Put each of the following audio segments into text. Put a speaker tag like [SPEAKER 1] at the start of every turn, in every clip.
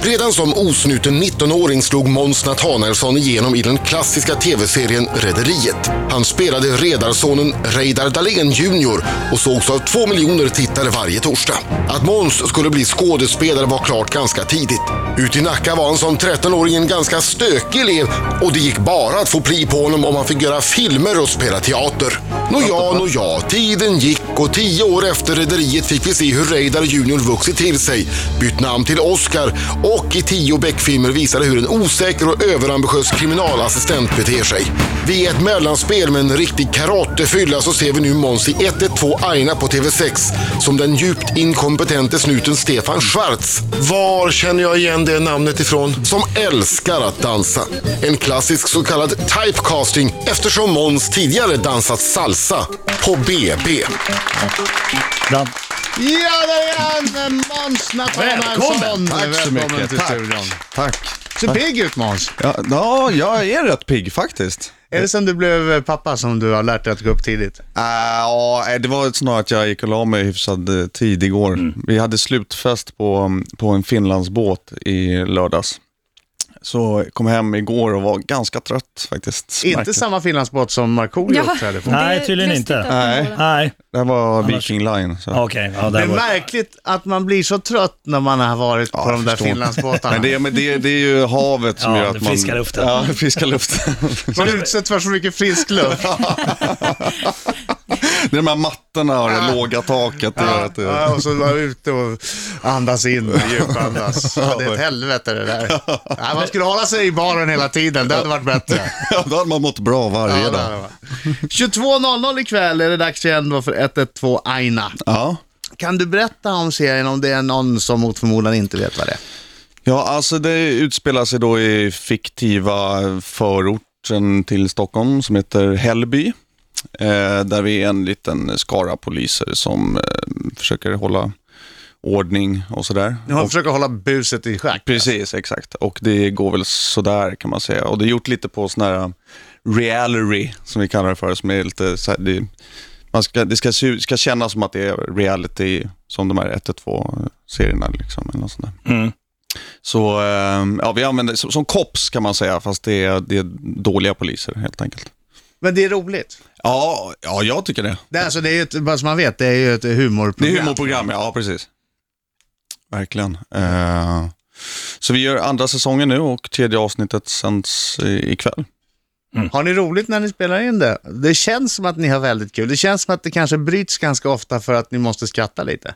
[SPEAKER 1] Redan som osnuten 19-åring slog Måns Nathanaelsson igenom i den klassiska tv-serien Rederiet. Han spelade redarsonen Reidar Dahlén Jr och sågs av två miljoner tittare varje torsdag. Att Måns skulle bli skådespelare var klart ganska tidigt. Ut i Nacka var han som 13-åring en ganska stökig elev och det gick bara att få pli på honom om han fick göra filmer och spela teater. Nåja, nåja, tiden gick och tio år efter Rederiet fick vi se hur Reidar Junior vuxit till sig, bytt namn till Oscar och i tio Beck-filmer visade hur en osäker och överambitiös kriminalassistent beter sig. Via ett mellanspel med en riktig karatefylla så ser vi nu Måns i 112 Aina på TV6 som den djupt inkompetente snuten Stefan Schwarz. Var känner jag igen det namnet ifrån? Som älskar att dansa. En klassisk så kallad typecasting eftersom Måns tidigare dansat salsa på BB.
[SPEAKER 2] Bra.
[SPEAKER 3] Ja, där är han! Måns Nathanaelsson!
[SPEAKER 4] Välkommen!
[SPEAKER 2] Tack så mycket.
[SPEAKER 3] till
[SPEAKER 2] Tack.
[SPEAKER 3] studion.
[SPEAKER 2] Tack.
[SPEAKER 3] Ser pigg ut Måns.
[SPEAKER 2] Ja, ja, jag är rätt pigg faktiskt.
[SPEAKER 3] Är det sen du blev eh, pappa som du har lärt dig att gå upp tidigt?
[SPEAKER 2] Äh, Ja, det var snarare att jag gick och la mig hyfsad eh, tid igår. Vi hade slutfest på, mm, på en Finlandsbåt i lördags. Så kom hem igår och var ganska trött faktiskt. Märkte-
[SPEAKER 3] Inte samma finlandsbåt som Markoolio uppträdde på.
[SPEAKER 4] Nej,
[SPEAKER 5] Det är
[SPEAKER 4] tydligen
[SPEAKER 5] lustigt
[SPEAKER 4] inte.
[SPEAKER 5] att man
[SPEAKER 2] Nej.
[SPEAKER 5] håller-
[SPEAKER 4] Nej,
[SPEAKER 2] Det här var Viking Line. Så.
[SPEAKER 4] okej. ja,
[SPEAKER 3] Det
[SPEAKER 4] där
[SPEAKER 3] är
[SPEAKER 4] var...
[SPEAKER 3] märkligt att man blir så trött när man har varit på
[SPEAKER 2] jag
[SPEAKER 3] de där
[SPEAKER 2] förstår.
[SPEAKER 3] finlandsbåtarna.
[SPEAKER 2] Men, det, men det, det är ju havet som
[SPEAKER 4] Ja,
[SPEAKER 2] gör att
[SPEAKER 4] den
[SPEAKER 2] man...
[SPEAKER 4] friska luften.
[SPEAKER 2] Ja, den friska luften.
[SPEAKER 3] Man utsätts för så mycket frisk luft.
[SPEAKER 2] det är de här mattorna och det låga taket. Det gör att det...
[SPEAKER 3] Ja, och så var ute och andas in och djupandas. Ja, det är ett helvete det där. Nej, man skulle hålla sig i baren hela tiden, det hade varit bättre.
[SPEAKER 2] Ja, då hade man mått bra varje
[SPEAKER 3] Ja, det hade
[SPEAKER 2] dag.
[SPEAKER 3] varit. 22.00 ikväll är det dags igen då för 112 Aina.
[SPEAKER 2] Ja.
[SPEAKER 3] Kan du berätta om serien om det är någon som mot förmodan inte vet vad det är?
[SPEAKER 2] Ja, alltså det utspelar sig då i fiktiva förorten till Stockholm som heter Hällby. Eh, där vi är en liten skara poliser som eh, försöker hålla ordning och sådär.
[SPEAKER 3] De försöker hålla buset i schack.
[SPEAKER 2] Precis, exakt. Och det går väl sådär kan man säga. Och det är gjort lite på sån här um, reality, som vi kallar det för, som är lite så här, det, man ska, det ska, se ut- ska kännas som att det är reality, som de här 112-serierna uh, liksom, eller något sånt där.
[SPEAKER 4] Mm.
[SPEAKER 2] Så eh, ja, vi använder som, som kops kan man säga, fast det är, det är dåliga poliser helt enkelt.
[SPEAKER 3] Men det är roligt.
[SPEAKER 2] Ja, ja jag tycker det.
[SPEAKER 3] Det, är alltså, det är ju ett, bara som man vet, det är ju ett
[SPEAKER 2] Det är
[SPEAKER 3] humorprogram.
[SPEAKER 2] humorprogram, ja precis. Verkligen. Eh, så vi gör andra säsongen nu och tredje avsnittet sänds i- ikväll.
[SPEAKER 3] Har ni roligt när ni spelar in det? Det känns som att ni har väldigt kul. Det känns som att det kanske bryts ganska ofta för att ni måste skratta lite.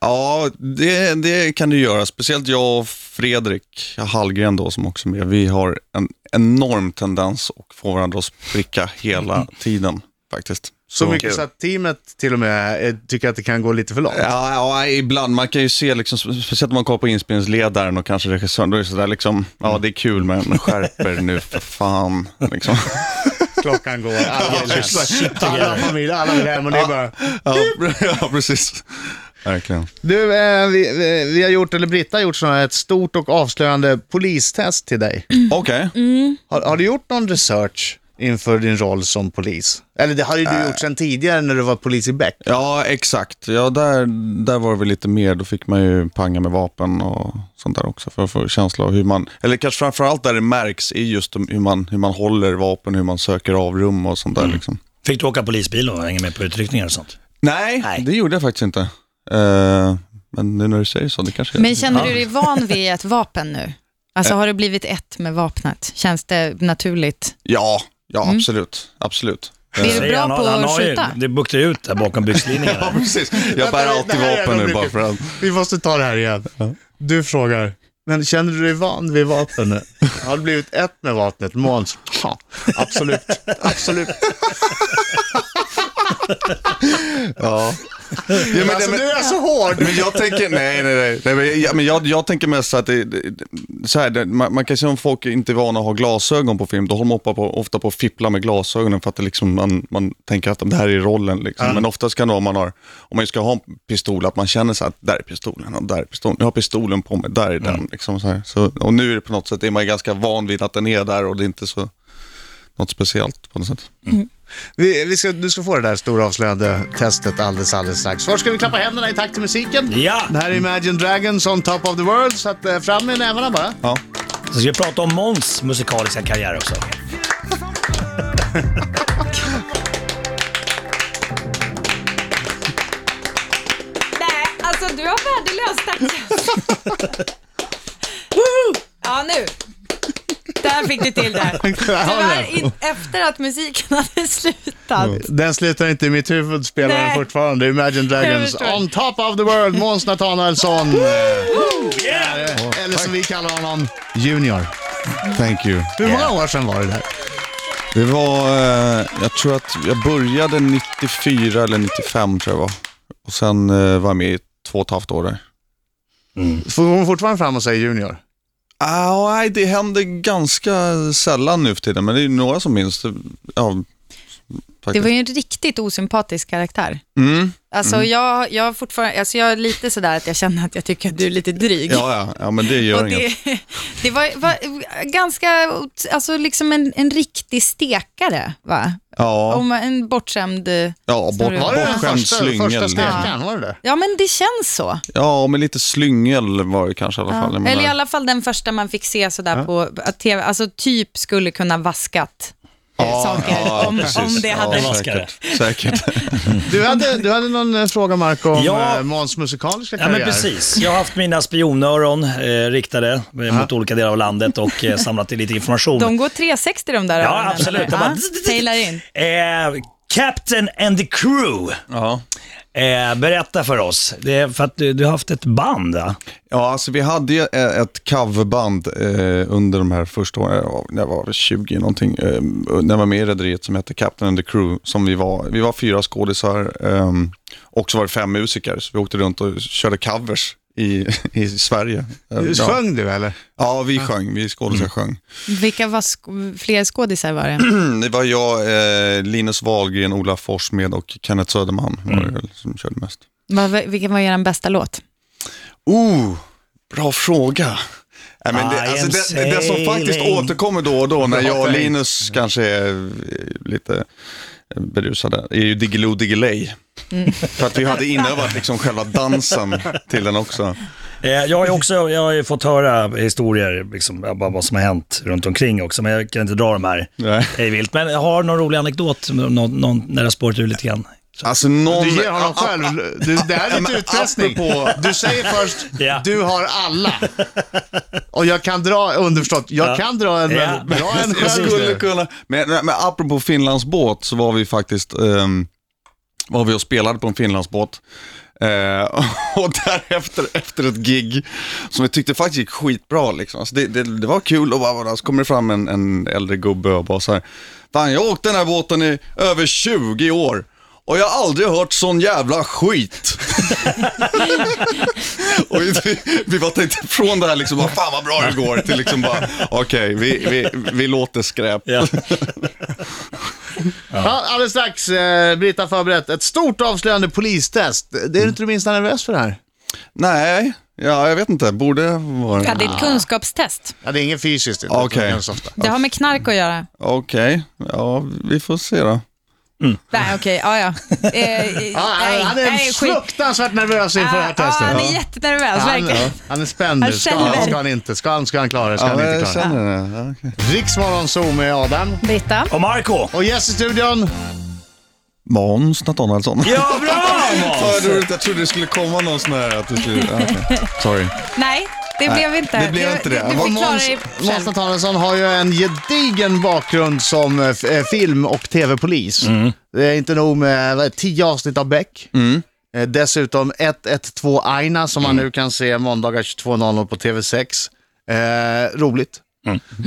[SPEAKER 2] Ja, det, det kan du göra. Speciellt jag och Fredrik Hallgren då som också är med. Vi har en enorm tendens att få varandra att spricka hela tiden faktiskt.
[SPEAKER 3] Så, mycket så att teamet till och med eh, tycker att det kan gå lite för långt.
[SPEAKER 2] Ja, ja, ibland. Man kan ju se, liksom, speciellt om man kollar på inspelningsledaren och kanske regissören, då är det sådär liksom, ja det är kul men men skärp er nu för fan. Liksom.
[SPEAKER 3] Klockan går, alla vill hem. Alla familjer, alla vill hem och det är bara...
[SPEAKER 2] Ja, ja, precis. Verkligen.
[SPEAKER 3] Du, eh, vi, vi- vi har gjort, eller Britta har gjort sådana här, ett stort och avslöjande polistest till dig.
[SPEAKER 2] Okej.
[SPEAKER 3] Har, har du gjort någon research inför din roll som polis? Eller det har ju du gjort sedan tidigare när du var polis i Beck.
[SPEAKER 2] Ja, exakt. Ja, där, där var det väl lite mer. Då fick man ju panga med vapen och sånt där också för att få känsla av hur man... Eller kanske framförallt där det märks är just om hur man, hur man håller vapen, hur man söker av rum och sånt där
[SPEAKER 3] Mm.
[SPEAKER 2] liksom.
[SPEAKER 4] Fick du åka polisbil och hänga med på utryckningar och sånt?
[SPEAKER 2] Nej,
[SPEAKER 4] Nej.
[SPEAKER 2] det gjorde jag faktiskt inte. Eh, men nu när du säger så, det kanske...
[SPEAKER 5] Men känner du dig van vid ett vapen nu? Alltså har du blivit ett med vapnet? Känns det naturligt?
[SPEAKER 2] Ja, ja absolut. Absolut. Eh,
[SPEAKER 5] Blir du
[SPEAKER 4] Säger
[SPEAKER 5] bra
[SPEAKER 4] han,
[SPEAKER 5] på
[SPEAKER 4] han
[SPEAKER 5] att
[SPEAKER 4] har ju-
[SPEAKER 5] skjuta?
[SPEAKER 4] Det buktade ut där bakom byxlinjen.
[SPEAKER 2] Ja,
[SPEAKER 4] där.
[SPEAKER 2] precis. Jag bär
[SPEAKER 3] Vänta,
[SPEAKER 2] alltid
[SPEAKER 3] det här är
[SPEAKER 2] vapen nu
[SPEAKER 3] nog
[SPEAKER 2] bara
[SPEAKER 3] mycket.
[SPEAKER 2] för att...
[SPEAKER 3] Vi måste ta det här igen. Du frågar, men känner du dig van vid vapnet? Har du blivit ett med vapnet? Måns? Ja, absolut. absolut.
[SPEAKER 2] Ja. ja men,
[SPEAKER 3] alltså,
[SPEAKER 2] men,
[SPEAKER 3] du är så hård.
[SPEAKER 2] men jag tänker, nej nej nej. nej men jag, men jag, jag tänker mest att det, det, så här, det, man, man kan se om folk inte är vana att ha glasögon på film, då håller man ofta på, ofta på att fippla med glasögonen för att det liksom, man, man tänker att det här är rollen. Liksom. Men oftast kan det vara om man har, om man ska ha en pistol, att man känner så här, att där är pistolen och där är pistolen. Jag har pistolen på mig, där är den.
[SPEAKER 3] Mm.
[SPEAKER 2] Liksom, så här. Så, och nu är det på något sätt, är man ganska van vid att den är där och det är inte så något speciellt på något sätt.
[SPEAKER 3] Vi, vi ska, du ska få det där stora avslöjande testet alldeles, alldeles strax. Först ska vi klappa händerna i takt till musiken.
[SPEAKER 4] Ja.
[SPEAKER 3] Det här är Imagine Dragons on top of the world, så att, eh, fram med nävarna bara.
[SPEAKER 2] Ja.
[SPEAKER 4] Så ska vi prata om Måns musikaliska karriär också.
[SPEAKER 5] Nej, alltså du har värdelös takt. Woho! ja, nu. Där fick du till det. Tyvärr, in, efter att musiken hade slutat.
[SPEAKER 3] Den slutar inte i mitt huvud, spelar den
[SPEAKER 5] Nej.
[SPEAKER 3] fortfarande. Imagine Dragons
[SPEAKER 5] förstår.
[SPEAKER 3] on top of the world, Måns Nathanaelsson. Eh, Eller som vi kallar honom, Junior.
[SPEAKER 2] Thank you.
[SPEAKER 3] Hur många år sedan var det där?
[SPEAKER 2] Det var, eh, jag tror att jag började 94 eller 95 tror jag var. Och sen eh, var jag med i två och ett halvt år där.
[SPEAKER 3] Får hon fortfarande fram och säger Junior?
[SPEAKER 2] Ah, nej, det händer ganska sällan nu för tiden, men det är ju några som minns det. Ja,
[SPEAKER 5] Det
[SPEAKER 2] faktiskt.
[SPEAKER 5] var ju en riktigt osympatisk karaktär.
[SPEAKER 2] Mm.
[SPEAKER 5] Alltså jag, jag, har fortfarande, alltså jag är lite sådär att jag känner att jag tycker att du är lite dryg.
[SPEAKER 2] Ja, ja, ja, men det gör
[SPEAKER 5] Och
[SPEAKER 2] inget.
[SPEAKER 5] det, det var, var ganska, alltså liksom en, en riktig stekare va?
[SPEAKER 2] Ja,
[SPEAKER 5] Om en bortskämd,
[SPEAKER 2] ja bort,
[SPEAKER 5] Var det
[SPEAKER 3] Var det den
[SPEAKER 2] bortskämd
[SPEAKER 3] första, första
[SPEAKER 2] slyngel.
[SPEAKER 3] stekaren? Var det det?
[SPEAKER 5] ja men det känns så.
[SPEAKER 2] Ja, men lite slyngel var det kanske i alla fall. Jag menar-
[SPEAKER 5] Eller i alla fall den första man fick se sådär på att tv, alltså typ skulle kunna vaskat eh, saker om,
[SPEAKER 2] precis.
[SPEAKER 5] om det hade...
[SPEAKER 2] Ja,
[SPEAKER 5] Ja.
[SPEAKER 2] säkert. säkert.
[SPEAKER 3] Du hade, du hade någon eh, fråga Marco om
[SPEAKER 4] Ja.
[SPEAKER 3] ja. Måns musikaliska
[SPEAKER 4] Ja,
[SPEAKER 3] karriär.
[SPEAKER 4] men precis. Jag har haft mina spionöron eh, riktade eh, mot olika delar av landet och eh, samlat in lite information.
[SPEAKER 5] De går 360 de där
[SPEAKER 4] Ja, absolut. De bara-
[SPEAKER 5] Ja, pejlar in.
[SPEAKER 4] Eh, Captain and the Crew,
[SPEAKER 2] ja.
[SPEAKER 4] eh, berätta för oss. Det är för att du, du har haft ett band, va?
[SPEAKER 2] Ja, alltså vi hade ju eh, ett coverband eh, under de här första åren, ja, när jag var 20 någonting, eh, när jag var med i rederiet som hette Captain and the Crew, som vi var, vi var fyra skådisar eh, och så var det fem musiker, så vi åkte runt och körde covers i, i Sverige. Eh,
[SPEAKER 3] Du-
[SPEAKER 2] ja.
[SPEAKER 3] Sjöng du eller?
[SPEAKER 2] ja, Mm. vi sjöng, vi skådisar sjöng. Mm,
[SPEAKER 5] Vilka var sk- fler skådisar var det?
[SPEAKER 2] Det var jag, eh, Linus Wahlgren, Ola Forsmed och Kenneth Söderman var det väl som körde mest.
[SPEAKER 5] Vad- Vilken var er bästa låt?
[SPEAKER 2] Oh, bra fråga. Nej, men det,
[SPEAKER 4] I am
[SPEAKER 2] alltså det, det som faktiskt
[SPEAKER 4] sailing.
[SPEAKER 2] återkommer då och då när jag och
[SPEAKER 3] tänkt.
[SPEAKER 2] Linus kanske är eh, lite berusade är ju Diggiloo Diggiley.
[SPEAKER 3] Mm.
[SPEAKER 2] För att vi hade inövat liksom själva dansen till den också.
[SPEAKER 4] Eh, jag har ju också jag har ju fått höra historier, liksom, ja, bara vad som har hänt runt omkring också, men jag kan inte dra de här
[SPEAKER 2] Nej.
[SPEAKER 4] hej vilt. Men jag har någon rolig anekdot, någon, någon, när det har spårat ur lite grann.
[SPEAKER 2] Alltså någon...
[SPEAKER 3] Du ger honom
[SPEAKER 2] Ah, ah,
[SPEAKER 3] själv. Du, det här är
[SPEAKER 2] men
[SPEAKER 3] inte utpressning.
[SPEAKER 2] apropå-
[SPEAKER 3] Du säger först,
[SPEAKER 4] Ja.
[SPEAKER 3] du har alla. Och jag kan dra, underförstått, jag
[SPEAKER 4] Ja.
[SPEAKER 3] kan dra en,
[SPEAKER 4] Ja.
[SPEAKER 3] men dra en
[SPEAKER 2] Jag
[SPEAKER 3] själv.
[SPEAKER 2] skulle
[SPEAKER 3] nu.
[SPEAKER 2] kunna. Men, men apropå Finlandsbåt så var vi faktiskt ehm, var vi och spelade på en Finlandsbåt. Eh, och därefter, efter ett gig som jag tyckte faktiskt gick skitbra. Liksom. Alltså det, det, det var kul och bara, så kommer det fram en, en äldre gubbe och bara så här. Fan, jag har åkt den här båten i över 20 år och jag har aldrig hört sån jävla skit. Och vi, vi bara tänkte från det här liksom, bara, fan vad bra det går, till liksom bara, okej, vi, vi, vi låter skräp.
[SPEAKER 4] Ja.
[SPEAKER 3] Ja, alldeles strax, eh, Britta har förberett ett stort avslöjande polistest. Det är du inte det minsta nervös för det här?
[SPEAKER 2] Nej, ja, jag vet inte, borde vara...
[SPEAKER 5] Ja, det
[SPEAKER 4] Ah.
[SPEAKER 5] är ett kunskapstest.
[SPEAKER 3] Ja, det är inget fysiskt. inte.
[SPEAKER 2] Okej.
[SPEAKER 3] Det är så ofta.
[SPEAKER 5] Det har med knark att göra.
[SPEAKER 2] Okej, ja, vi får se då.
[SPEAKER 5] Nej, okej. Ja, ja. Eh, eh,
[SPEAKER 3] Ja, han,
[SPEAKER 5] nej,
[SPEAKER 3] han är
[SPEAKER 5] nej, skit.
[SPEAKER 3] fruktansvärt nervös inför det här
[SPEAKER 5] Ja,
[SPEAKER 3] testet.
[SPEAKER 5] han är jättenervös, verkligen.
[SPEAKER 3] Han, han är spänd nu.
[SPEAKER 5] Han
[SPEAKER 3] Ska han,
[SPEAKER 5] känner.
[SPEAKER 3] ska han inte? Ska han, ska han klara det? Ska han inte
[SPEAKER 2] jag
[SPEAKER 3] klara
[SPEAKER 2] känner det. Ja, okej.
[SPEAKER 3] det? Riksmorgon Zoom med Adam.
[SPEAKER 5] Britta?
[SPEAKER 4] Och Marco
[SPEAKER 3] Och gäst i studion.
[SPEAKER 2] Måns Nathanaelsson.
[SPEAKER 4] Ja, bra Måns!
[SPEAKER 2] Vad roligt, jag trodde det skulle komma någon sån här att du skulle... ja, okej. Sorry.
[SPEAKER 5] Nej, det
[SPEAKER 2] Nej,
[SPEAKER 5] blev inte.
[SPEAKER 2] det blev inte det.
[SPEAKER 5] Du, du
[SPEAKER 2] Vad
[SPEAKER 5] fick klara dig
[SPEAKER 3] Måns
[SPEAKER 5] själv.
[SPEAKER 3] Nathanaelsson har ju en gedigen bakgrund som eh, f- eh, film och tv-polis. Det är inte nog med eh, vad är det, tio avsnitt av Beck. Eh, Dessutom 112 Aina som man nu kan se måndagar 22.00 på TV6. Eh, roligt.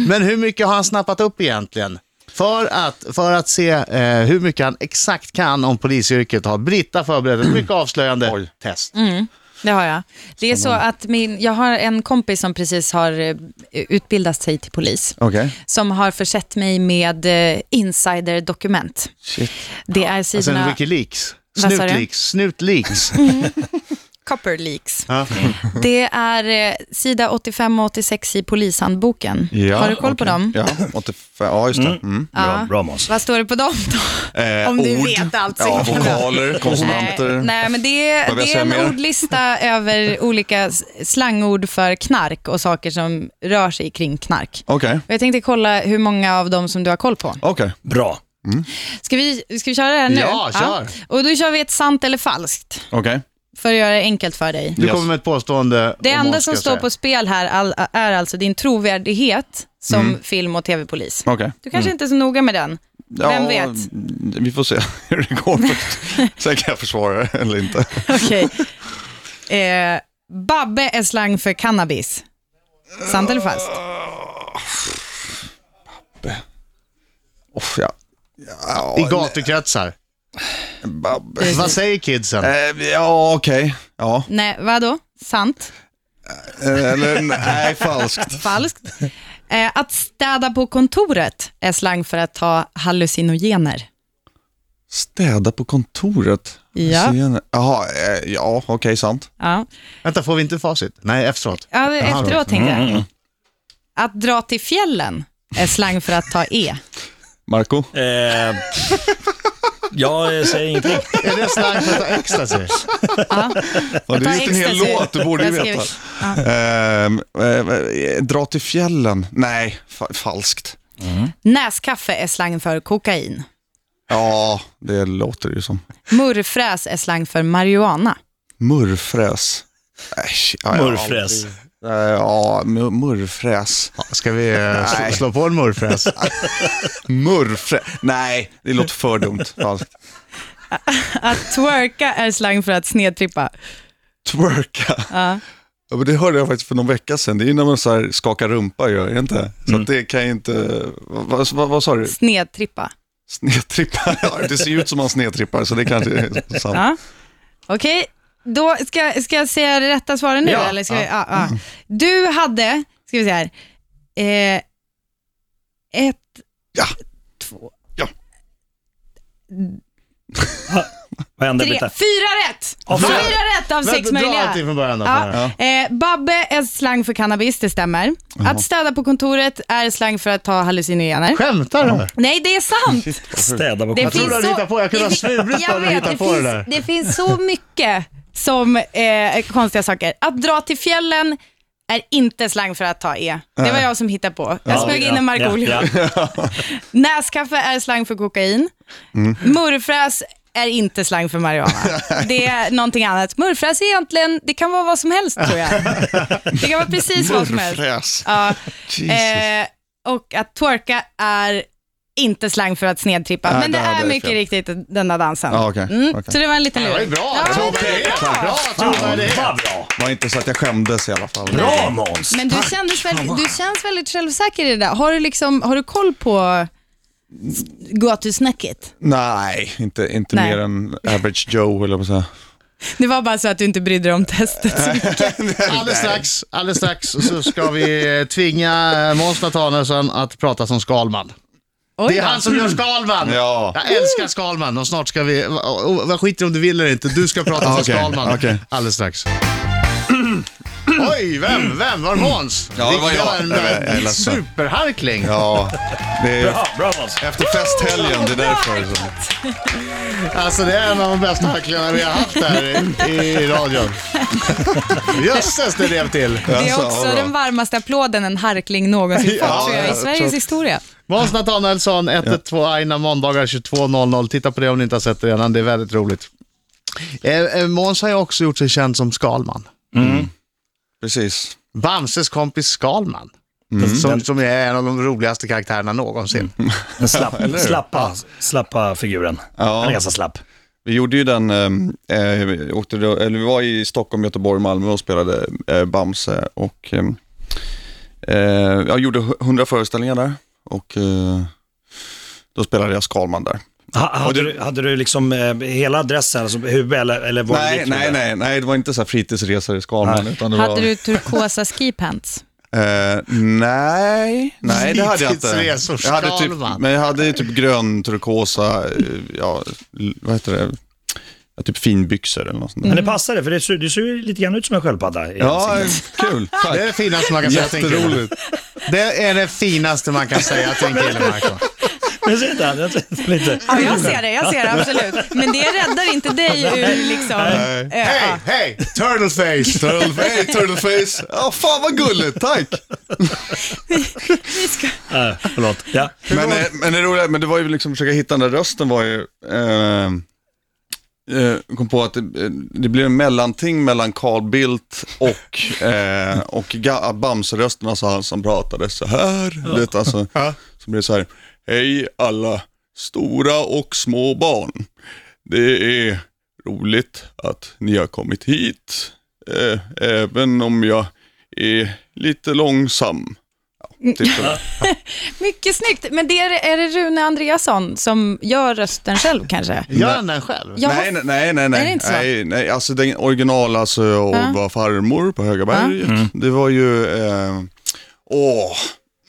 [SPEAKER 3] Men hur mycket har han snappat upp egentligen? För att, för att se eh, hur mycket han exakt kan om polisyrket har Britta förberett ett mycket avslöjande
[SPEAKER 2] Oj.
[SPEAKER 3] test.
[SPEAKER 5] Mm. Det har jag. Det är så
[SPEAKER 3] Mm.
[SPEAKER 5] att min, jag har en kompis som precis har eh, utbildat sig till polis.
[SPEAKER 2] Okej.
[SPEAKER 5] Som har försett mig med eh, insiderdokument.
[SPEAKER 2] Shit.
[SPEAKER 5] Det är
[SPEAKER 3] Alltså
[SPEAKER 5] sidorna...
[SPEAKER 3] en Wikileaks.
[SPEAKER 5] Vad sa du?
[SPEAKER 3] Snutleaks. Snutleaks.
[SPEAKER 5] Copper Leaks.
[SPEAKER 3] Ja.
[SPEAKER 5] Det är eh, sida 85 och 86 i polishandboken.
[SPEAKER 2] Ja,
[SPEAKER 5] Har du koll på
[SPEAKER 2] okej.
[SPEAKER 5] dem?
[SPEAKER 2] Ja, 85, ja just det. Mm.
[SPEAKER 4] Bra, bra Måns.
[SPEAKER 5] Vad står det på dem då?
[SPEAKER 2] Eh,
[SPEAKER 5] Om du
[SPEAKER 2] ord,
[SPEAKER 5] vet allt så
[SPEAKER 2] ja,
[SPEAKER 5] himla bra.
[SPEAKER 2] vokaler, konsonanter.
[SPEAKER 5] Nej, nej, men det, är-
[SPEAKER 2] Vad vill
[SPEAKER 5] det
[SPEAKER 2] jag
[SPEAKER 5] är en
[SPEAKER 2] säga mer?
[SPEAKER 5] ordlista över olika s- slangord för knark och saker som rör sig kring knark.
[SPEAKER 2] Okej,
[SPEAKER 5] Och jag tänkte kolla hur många av dem som du har koll på.
[SPEAKER 2] okej.
[SPEAKER 4] Bra.
[SPEAKER 5] Ska vi, ska vi köra det här nu?
[SPEAKER 3] Ja, kör.
[SPEAKER 5] Och då kör vi ett sant eller falskt,
[SPEAKER 2] okej.
[SPEAKER 5] för att göra det enkelt för dig.
[SPEAKER 3] Du
[SPEAKER 2] Yes.
[SPEAKER 3] kommer med ett påstående.
[SPEAKER 5] Det
[SPEAKER 3] om
[SPEAKER 5] enda
[SPEAKER 3] oss,
[SPEAKER 5] som
[SPEAKER 3] ska jag
[SPEAKER 5] står
[SPEAKER 3] säga.
[SPEAKER 5] på spel här all, är alltså din trovärdighet som film och tv-polis.
[SPEAKER 2] Okej.
[SPEAKER 5] Du kanske inte är så noga med den.
[SPEAKER 2] Ja,
[SPEAKER 5] Vem vet?
[SPEAKER 2] Vi får se hur det går först. Sen kan jag försvara det eller inte.
[SPEAKER 5] Okej. Eh, babbe är slang för cannabis. Sant eller falskt?
[SPEAKER 2] Uff, ja. Ja,
[SPEAKER 3] I gatukretsar.
[SPEAKER 2] Babbe.
[SPEAKER 5] Precis.
[SPEAKER 3] Vad säger kidsen?
[SPEAKER 2] Eh, Ja, okej. Ja.
[SPEAKER 5] Nej, vadå? Sant?
[SPEAKER 2] Eh, Eller nej, falskt.
[SPEAKER 5] Falskt? Eh, att städa på kontoret är slang för att ta hallucinogener.
[SPEAKER 2] Städa på kontoret.
[SPEAKER 5] Ja.
[SPEAKER 2] Sen- Jaha, eh, ja, okej, sant.
[SPEAKER 5] Ja.
[SPEAKER 3] Vänta, får vi inte facit? Nej, efteråt.
[SPEAKER 5] Ja, efteråt tänkte jag.
[SPEAKER 4] Mm.
[SPEAKER 5] Att dra till fjällen är slang för att ta E.
[SPEAKER 2] Marco?
[SPEAKER 4] Eh, jag eh, säger ingenting.
[SPEAKER 3] Är det slang för att ta ecstasy?
[SPEAKER 5] Ja.
[SPEAKER 2] Ja,
[SPEAKER 5] Jag
[SPEAKER 2] det
[SPEAKER 5] tar
[SPEAKER 2] är just en hel
[SPEAKER 5] ecstasy.
[SPEAKER 2] låt, du borde ju
[SPEAKER 5] Jag skrev-
[SPEAKER 2] veta. Ehm, eh, eh, dra till fjällen? Nej, fa- falskt.
[SPEAKER 5] Näskaffe är slang för kokain.
[SPEAKER 2] Ja, det låter det ju som.
[SPEAKER 5] Murrfräs är slang för marijuana.
[SPEAKER 2] Murrfräs. Äsch, ja, jag har
[SPEAKER 4] Murrfräs.
[SPEAKER 2] aldrig- Eh, Ja, mu- murrfräs.
[SPEAKER 3] Ska vi eh, slå-
[SPEAKER 2] Nej.
[SPEAKER 3] slå på en morfräs?
[SPEAKER 2] Murrfräs. Nej, det låter för dumt. Falskt.
[SPEAKER 5] Att twerka är slang för att snedtrippa.
[SPEAKER 2] Twerka.
[SPEAKER 5] Ja.
[SPEAKER 2] Ja, men det hörde jag faktiskt för någon vecka sedan. Det är ju när man så här skakar rumpa, gör det inte? Så att det kan ju inte... Vad, vad, vad sa du?
[SPEAKER 5] Snedtrippa.
[SPEAKER 2] Snedtrippar? Ja, det ser ju ut som man snedtrippar, så det kanske är sant.
[SPEAKER 5] Ja. Okej, då ska, ska jag säga det rätta svaret nu?
[SPEAKER 2] Ja.
[SPEAKER 5] Eller ska vi, ja, ja. Du hade, ska vi se här, eh, ett,
[SPEAKER 2] Ja.
[SPEAKER 5] två,
[SPEAKER 4] Vad hände?
[SPEAKER 5] tre,
[SPEAKER 4] Britta?
[SPEAKER 5] fyra rätt!
[SPEAKER 4] fyra.
[SPEAKER 5] Fyra rätt av sex
[SPEAKER 3] Vänta, dra
[SPEAKER 5] möjliga.
[SPEAKER 3] allting från början då.
[SPEAKER 5] Ja. Eh, babbe är slang för cannabis, det stämmer. Att städa på kontoret är slang för att ta hallucinogener.
[SPEAKER 3] Skämtar du?
[SPEAKER 5] Nej, det är sant!
[SPEAKER 4] Städa på
[SPEAKER 5] Det
[SPEAKER 4] kontoret.
[SPEAKER 3] tror du hade hittat på. Jag kunde ha
[SPEAKER 5] det-
[SPEAKER 3] svurit på
[SPEAKER 5] jag
[SPEAKER 3] att du
[SPEAKER 5] vet,
[SPEAKER 3] hittade
[SPEAKER 5] det
[SPEAKER 3] på det
[SPEAKER 5] finns,
[SPEAKER 3] där.
[SPEAKER 5] Det finns så mycket som eh, konstiga saker. Att dra till fjällen är inte slang för att ta E. Det var jag som hittade på. Jag smög in en Markoolio.
[SPEAKER 4] Ja, ja.
[SPEAKER 5] Näskaffe är slang för kokain.
[SPEAKER 4] Mm.
[SPEAKER 5] Murrfräs är inte slang för marijuana. Det är någonting annat. Murrfräs är egentligen, det kan vara vad som helst tror jag. Det kan vara precis vad som helst.
[SPEAKER 2] Murrfräs.
[SPEAKER 5] Ja.
[SPEAKER 2] Jesus.
[SPEAKER 5] Eh, och att twerka är inte slang för att snedtrippa,
[SPEAKER 2] Nej,
[SPEAKER 5] men det
[SPEAKER 2] där hade
[SPEAKER 5] är
[SPEAKER 2] jag
[SPEAKER 5] mycket
[SPEAKER 2] fel.
[SPEAKER 5] riktigt den där dansen.
[SPEAKER 2] Ja, okej,
[SPEAKER 5] Mm,
[SPEAKER 2] okej.
[SPEAKER 5] Så det var en liten
[SPEAKER 3] Det var ju
[SPEAKER 5] luring.
[SPEAKER 3] bra.
[SPEAKER 5] Ja,
[SPEAKER 3] Bra
[SPEAKER 5] det var bra.
[SPEAKER 3] Bra trovärdighet.
[SPEAKER 4] Vad bra.
[SPEAKER 2] Det var inte så att jag skämdes i alla fall.
[SPEAKER 4] Bra Måns.
[SPEAKER 5] Men du, kändes väl, du känns väldigt självsäker i det där. Har du, liksom, har du koll på gatusnacket?
[SPEAKER 2] Nej, inte, inte
[SPEAKER 5] Nej.
[SPEAKER 2] mer än average Joe, eller vad man
[SPEAKER 5] Det var bara så att du inte brydde dig om testet.
[SPEAKER 3] Alldeles strax, alldeles strax så ska vi eh, tvinga eh, Måns Nathanaelsson att prata som Skalman.
[SPEAKER 5] Oj
[SPEAKER 3] Det är
[SPEAKER 5] då.
[SPEAKER 3] han som gör Skalman!
[SPEAKER 2] Ja.
[SPEAKER 3] Jag älskar Skalman och snart ska vi... och- och- Vad skiter om du vill eller inte, du ska prata som
[SPEAKER 2] Ah, Okej,
[SPEAKER 3] Skalman
[SPEAKER 2] okej.
[SPEAKER 3] alldeles strax. Oj, vem? Vem? Var det Måns?
[SPEAKER 2] Ja, det var jag.
[SPEAKER 3] en,
[SPEAKER 2] Nej, men jag är
[SPEAKER 3] en
[SPEAKER 2] ledsen.
[SPEAKER 3] superharkling.
[SPEAKER 2] Ja, det är
[SPEAKER 4] Ja, bra Måns.
[SPEAKER 2] efter festhelgen, det är därför.
[SPEAKER 3] Alltså det är en av de bästa harklingarna vi har haft här i, i radion. Jösses, det rev till.
[SPEAKER 5] Det är också den varmaste applåden en harkling någonsin fått
[SPEAKER 2] Ja,
[SPEAKER 5] tror jag, i
[SPEAKER 2] jag
[SPEAKER 5] Sveriges
[SPEAKER 2] tror-
[SPEAKER 5] historia.
[SPEAKER 3] Måns Nathanaelsson, 112 Aina, måndagar 22.00. Titta på det om ni inte har sett det redan, det är väldigt roligt. Eh, eh, Måns har ju också gjort sig känd som Skalman.
[SPEAKER 2] Precis.
[SPEAKER 3] Bamses kompis Skalman. Som, som är en av de roligaste karaktärerna någonsin.
[SPEAKER 4] Den slapp, slappa, slappa figuren.
[SPEAKER 2] Ja.
[SPEAKER 4] Den är ganska slapp.
[SPEAKER 2] Vi gjorde ju den, eh, eh, vi åkte då, eller vi var i Stockholm, Göteborg, Malmö och spelade eh, Bamse och eh, eh, jag gjorde hu- 100 föreställningar där och eh, då spelade jag Skalman där.
[SPEAKER 4] Ha,
[SPEAKER 2] Och
[SPEAKER 4] hade,
[SPEAKER 2] det-
[SPEAKER 4] du, hade du liksom eh, hela adressen, alltså huvud eller, eller var det
[SPEAKER 2] Nej,
[SPEAKER 4] ditt
[SPEAKER 2] nej,
[SPEAKER 4] huvud?
[SPEAKER 2] nej, nej, det var inte så här fritidsresor i Skalman.
[SPEAKER 4] Nej.
[SPEAKER 2] Utan det var,
[SPEAKER 5] Hade du turkosa skipants?
[SPEAKER 2] Eh, nej, nej det hade jag inte.
[SPEAKER 3] Fritidsresor,
[SPEAKER 2] Jag hade typ,
[SPEAKER 3] Skalman.
[SPEAKER 2] men jag hade ju typ grön, turkosa, eh, ja, l- vad heter det? ja, typ finbyxor eller något sånt där.
[SPEAKER 4] Men det passade, för det ser, du ser ju lite grann ut som en sköldpadda. i
[SPEAKER 2] Ja,
[SPEAKER 4] ansiktet.
[SPEAKER 2] kul. Tack.
[SPEAKER 3] Det är det finaste man kan säga till en kille.
[SPEAKER 2] Jätteroligt.
[SPEAKER 3] Det är det finaste man kan säga till en kille, Marco.
[SPEAKER 4] Men se där, jag ser inte lite.
[SPEAKER 5] Ja, jag ser det, jag ser det absolut. Men det räddar inte dig ur liksom... eh, ja.
[SPEAKER 3] Hej, hej! Turtleface!
[SPEAKER 2] Turtleface, turtleface. Ja, fan vad gulligt, tack.
[SPEAKER 5] Vi ska...
[SPEAKER 4] Äh, förlåt. Ja.
[SPEAKER 2] Men, eh, men det roliga, men det var ju liksom försöka hitta den där rösten var ju, eh, eh, kom på att det, eh, det blir en mellanting mellan Carl Bildt och, eh, och Ga- Bamse-rösten, alltså han som pratade så här. Du Vet, alltså, så blir det så här, hej alla stora och små barn. Det är roligt att ni har kommit hit, eh, även om jag är lite långsam. Ja, typ sådär.
[SPEAKER 5] Mycket snyggt. Men det är, är det Rune Andreasson som gör rösten själv kanske?
[SPEAKER 3] Gör han den själv?
[SPEAKER 5] Jag
[SPEAKER 2] Nej,
[SPEAKER 5] har-
[SPEAKER 2] nej, nej, nej,
[SPEAKER 5] Är det
[SPEAKER 2] nej,
[SPEAKER 5] inte så?
[SPEAKER 2] nej, nej, alltså den original, alltså och
[SPEAKER 5] Ja. Mm.
[SPEAKER 2] var farmor på Högaberget, det var ju, eh, åh,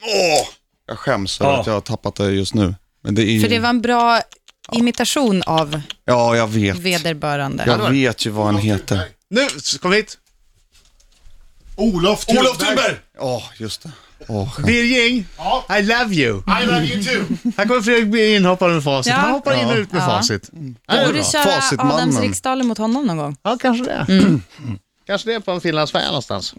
[SPEAKER 2] åh, jag skäms över
[SPEAKER 4] Ja.
[SPEAKER 2] att jag har tappat det just nu. Men det är ju,
[SPEAKER 5] För det var en bra imitation av
[SPEAKER 2] ja jag vet,
[SPEAKER 5] vederbörande.
[SPEAKER 2] jag vet ju vad han heter.
[SPEAKER 3] Nu, kom hit!
[SPEAKER 6] Olof Thunberg.
[SPEAKER 2] Olof Thunberg! Ja, just det. Åh, skämt.
[SPEAKER 3] Birging,
[SPEAKER 6] Ja.
[SPEAKER 3] I love you.
[SPEAKER 6] I love you too.
[SPEAKER 3] Här kommer Fredrik Birging hoppa med facit.
[SPEAKER 5] Ja.
[SPEAKER 3] Han hoppar in och ut med
[SPEAKER 5] Ja.
[SPEAKER 3] facit. Ja, det är
[SPEAKER 5] Borde
[SPEAKER 3] bra.
[SPEAKER 5] köra
[SPEAKER 2] Facitmannen.
[SPEAKER 5] Adams riksdaler mot honom någon gång.
[SPEAKER 3] Ja, kanske det.
[SPEAKER 5] Mm.
[SPEAKER 3] Kanske det är på en finlandsfärja någonstans.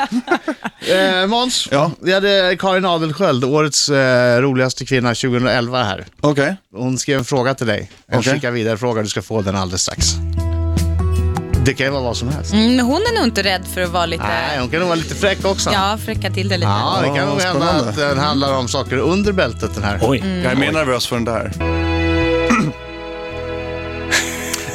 [SPEAKER 3] eh, Måns,
[SPEAKER 2] Ja.
[SPEAKER 3] vi hade Karin Adelsköld, årets eh, roligaste kvinna 2011 här.
[SPEAKER 2] Okej,
[SPEAKER 5] Mm.
[SPEAKER 3] Hon skrev en fråga till dig. En
[SPEAKER 2] Okej.
[SPEAKER 3] skicka vidare fråga, du ska få den alldeles strax. Det kan ju vara vad som helst.
[SPEAKER 5] Mm, men hon är nog inte rädd för att vara lite...
[SPEAKER 3] Nej, hon kan nog vara lite fräck också.
[SPEAKER 5] Ja, fräcka till det lite.
[SPEAKER 3] Ja, det kan nog hända
[SPEAKER 2] spännande.
[SPEAKER 3] att den handlar om saker under bältet den här.
[SPEAKER 4] Oj.
[SPEAKER 2] jag är mer nervös för den där.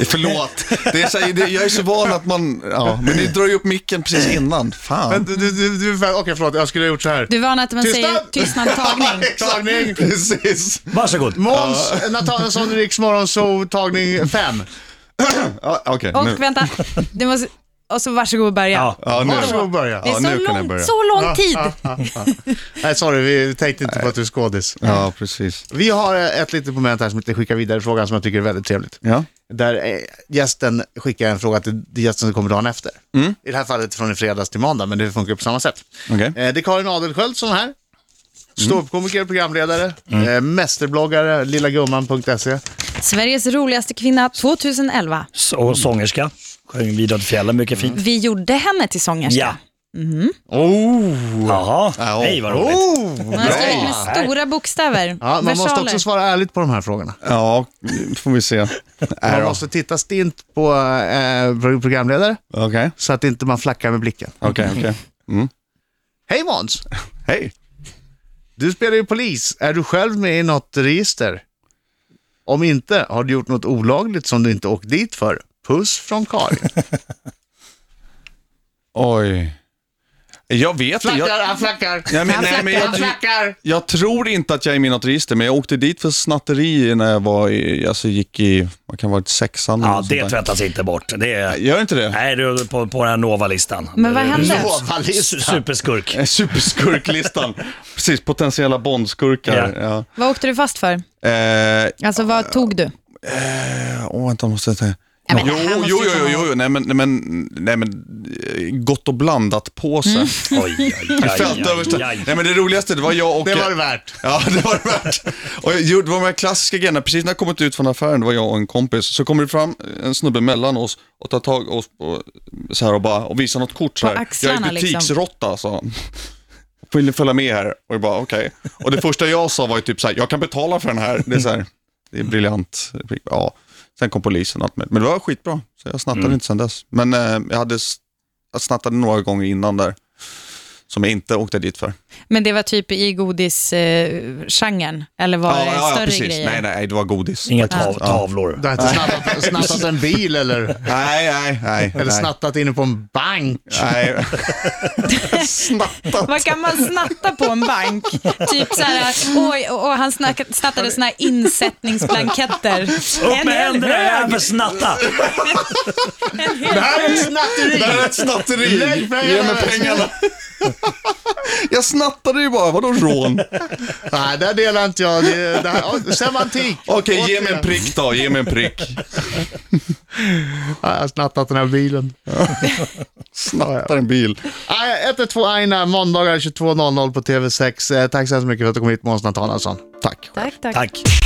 [SPEAKER 2] Förlåt, det är så, det, jag är så van att man, ja, men ni drar ju upp micken precis innan. Fan.
[SPEAKER 3] Men du, du, du, du, Okej, förlåt. Jag skulle ha gjort så här.
[SPEAKER 5] Du var att man
[SPEAKER 3] Tystnad!
[SPEAKER 5] säger tystnadtagning.
[SPEAKER 3] Tagning.
[SPEAKER 2] Precis.
[SPEAKER 4] Varsågod.
[SPEAKER 3] Mm. Måns Nathanaelsson, Riks Morgonzoo, tagning 5.
[SPEAKER 2] Ja, Okej,
[SPEAKER 5] Och
[SPEAKER 2] nu.
[SPEAKER 5] vänta, det måste... Och så varsågod och börja.
[SPEAKER 4] Ja.
[SPEAKER 2] Ja, nu.
[SPEAKER 3] Varsågod och börja.
[SPEAKER 5] Det är
[SPEAKER 2] Ja, nu
[SPEAKER 5] så,
[SPEAKER 2] kan jag
[SPEAKER 5] lång,
[SPEAKER 2] börja.
[SPEAKER 5] så lång tid.
[SPEAKER 3] Nej, sorry, vi tänkte inte på att du är skådis.
[SPEAKER 2] Ja, precis.
[SPEAKER 3] Vi har ett litet moment här som inte skickar vidare frågan som jag tycker är väldigt trevligt.
[SPEAKER 2] Ja.
[SPEAKER 3] Där eh, gästen skickar en fråga till gästen som kommer dagen efter. I det här fallet från i fredags till måndag, men det funkar på samma sätt.
[SPEAKER 2] Okej.
[SPEAKER 3] Eh, Det är Karin Adelsköld som är här. Ståuppkomiker, programledare, eh, mästerbloggare, lillagumman.se.
[SPEAKER 5] Sveriges roligaste kvinna 2011.
[SPEAKER 4] S- Och sångerska. Sjöng Vidar till fjällen, mycket fint.
[SPEAKER 5] Vi gjorde henne till sångerska.
[SPEAKER 4] Ja.
[SPEAKER 5] Mm-hmm.
[SPEAKER 3] Oh!
[SPEAKER 4] Jaha. Hej, vad roligt.
[SPEAKER 3] oh.
[SPEAKER 5] Hon har skrivit med stora bokstäver.
[SPEAKER 3] Ja, man måste
[SPEAKER 5] Versaler.
[SPEAKER 3] också svara ärligt på de här frågorna.
[SPEAKER 2] Ja, får vi se. Nej
[SPEAKER 3] Man
[SPEAKER 2] då.
[SPEAKER 3] måste titta stint på eh, pro- programledare
[SPEAKER 2] Okej,
[SPEAKER 3] så att inte man flackar med blicken.
[SPEAKER 2] okej, okej.
[SPEAKER 3] Hej Måns!
[SPEAKER 2] Hej.
[SPEAKER 3] Du spelar ju polis. Är du själv med i något register? Om inte, har du gjort något olagligt som du inte åkt dit för? Puss från Karin.
[SPEAKER 2] Oj. Jag vet inte. Jag,
[SPEAKER 3] han flackar!
[SPEAKER 2] nej, men, nej, men jag,
[SPEAKER 3] flackar!
[SPEAKER 2] jag tror inte att jag är med i något register, men jag åkte dit för snatteri när jag var i, alltså gick i, vad kan det ha varit, sexan eller
[SPEAKER 4] Ja,
[SPEAKER 2] något
[SPEAKER 4] det
[SPEAKER 2] sånt där.
[SPEAKER 4] tvättas inte bort. Det är...
[SPEAKER 2] Gör inte det?
[SPEAKER 4] Nej, du är på, på den här Nova-listan.
[SPEAKER 5] Men vad
[SPEAKER 4] Det är-
[SPEAKER 5] hände?
[SPEAKER 4] S- Superskurk.
[SPEAKER 2] Eh, Superskurklistan. Precis, potentiella bondskurkar. Ja.
[SPEAKER 5] Vad åkte du fast för?
[SPEAKER 2] Eh,
[SPEAKER 5] Alltså vad tog du?
[SPEAKER 2] Åh, vänta, måste jag säga.
[SPEAKER 5] Ja, men
[SPEAKER 2] jo,
[SPEAKER 5] det här måste
[SPEAKER 2] jo,
[SPEAKER 5] ju
[SPEAKER 2] jo,
[SPEAKER 5] vara-
[SPEAKER 2] jo, jo, nej men, nej men, nej men, eh, gott och blandat påse. Mm.
[SPEAKER 4] Oj, oj, oj,
[SPEAKER 2] Fältöverste.
[SPEAKER 4] oj, oj.
[SPEAKER 2] Nej men det roligaste, det var jag och...
[SPEAKER 3] Det var det värt.
[SPEAKER 2] Ja, det var det värt. Och jag gjorde- det var de här klassiska grejerna, precis när jag kommit ut från affären, det var jag och en kompis, så kommer det fram en snubbe mellan oss och tar tag i oss på, så här och, bara, och visar något kort så
[SPEAKER 5] På
[SPEAKER 2] här. jag
[SPEAKER 5] axlarna,
[SPEAKER 2] är
[SPEAKER 5] liksom.
[SPEAKER 2] butiksråtta, sa han. Vill ni följa med här? Och jag bara okej. Och det första jag sa var ju typ så här, jag kan betala för den här. Det är så här, det är briljant. Ja. Sen kom polisen och allt möjligt. Men det var skitbra, så jag snattade inte sen dess. Men eh, jag hade s- jag snattade några gånger innan där, som jag inte åkte dit för.
[SPEAKER 5] Men det var typ i godisgenren? Eller var det större grejer?
[SPEAKER 2] Nej, nej, det var godis.
[SPEAKER 4] Inga tav, tavlor.
[SPEAKER 3] Du har inte snattat, snattat en bil eller,
[SPEAKER 2] Nej, nej, nej.
[SPEAKER 3] eller
[SPEAKER 2] nej.
[SPEAKER 3] snattat inne på en bank?
[SPEAKER 2] Nej. Snattat.
[SPEAKER 5] Vad kan man snatta på en bank? typ så här, oj, och, och han snack, snattade såna här insättningsblanketter.
[SPEAKER 4] Upp med händerna, jag är här
[SPEAKER 5] hög!
[SPEAKER 4] för att snatta.
[SPEAKER 5] En hel
[SPEAKER 3] Det här är ett snatteri!
[SPEAKER 2] Det här är ett snatteri.
[SPEAKER 3] Lägg pengarna.
[SPEAKER 2] Ge mig pengarna. Jag snattade ju bara, vadå rån?
[SPEAKER 3] Nej, där delar inte jag. Det, det här, ja, semantik.
[SPEAKER 2] Okej, ge mig
[SPEAKER 3] Återigen.
[SPEAKER 2] en prick då, ge mig en prick.
[SPEAKER 3] Ja, Jag har snattat den här bilen.
[SPEAKER 2] Snattar en bil.
[SPEAKER 3] Nej, 112 Aina, måndagar 22.00 på TV6. Eh, Tack så hemskt mycket för att du kom hit, Måns Nathanaelsson. Tack.
[SPEAKER 5] Tack, tack.
[SPEAKER 4] Tack.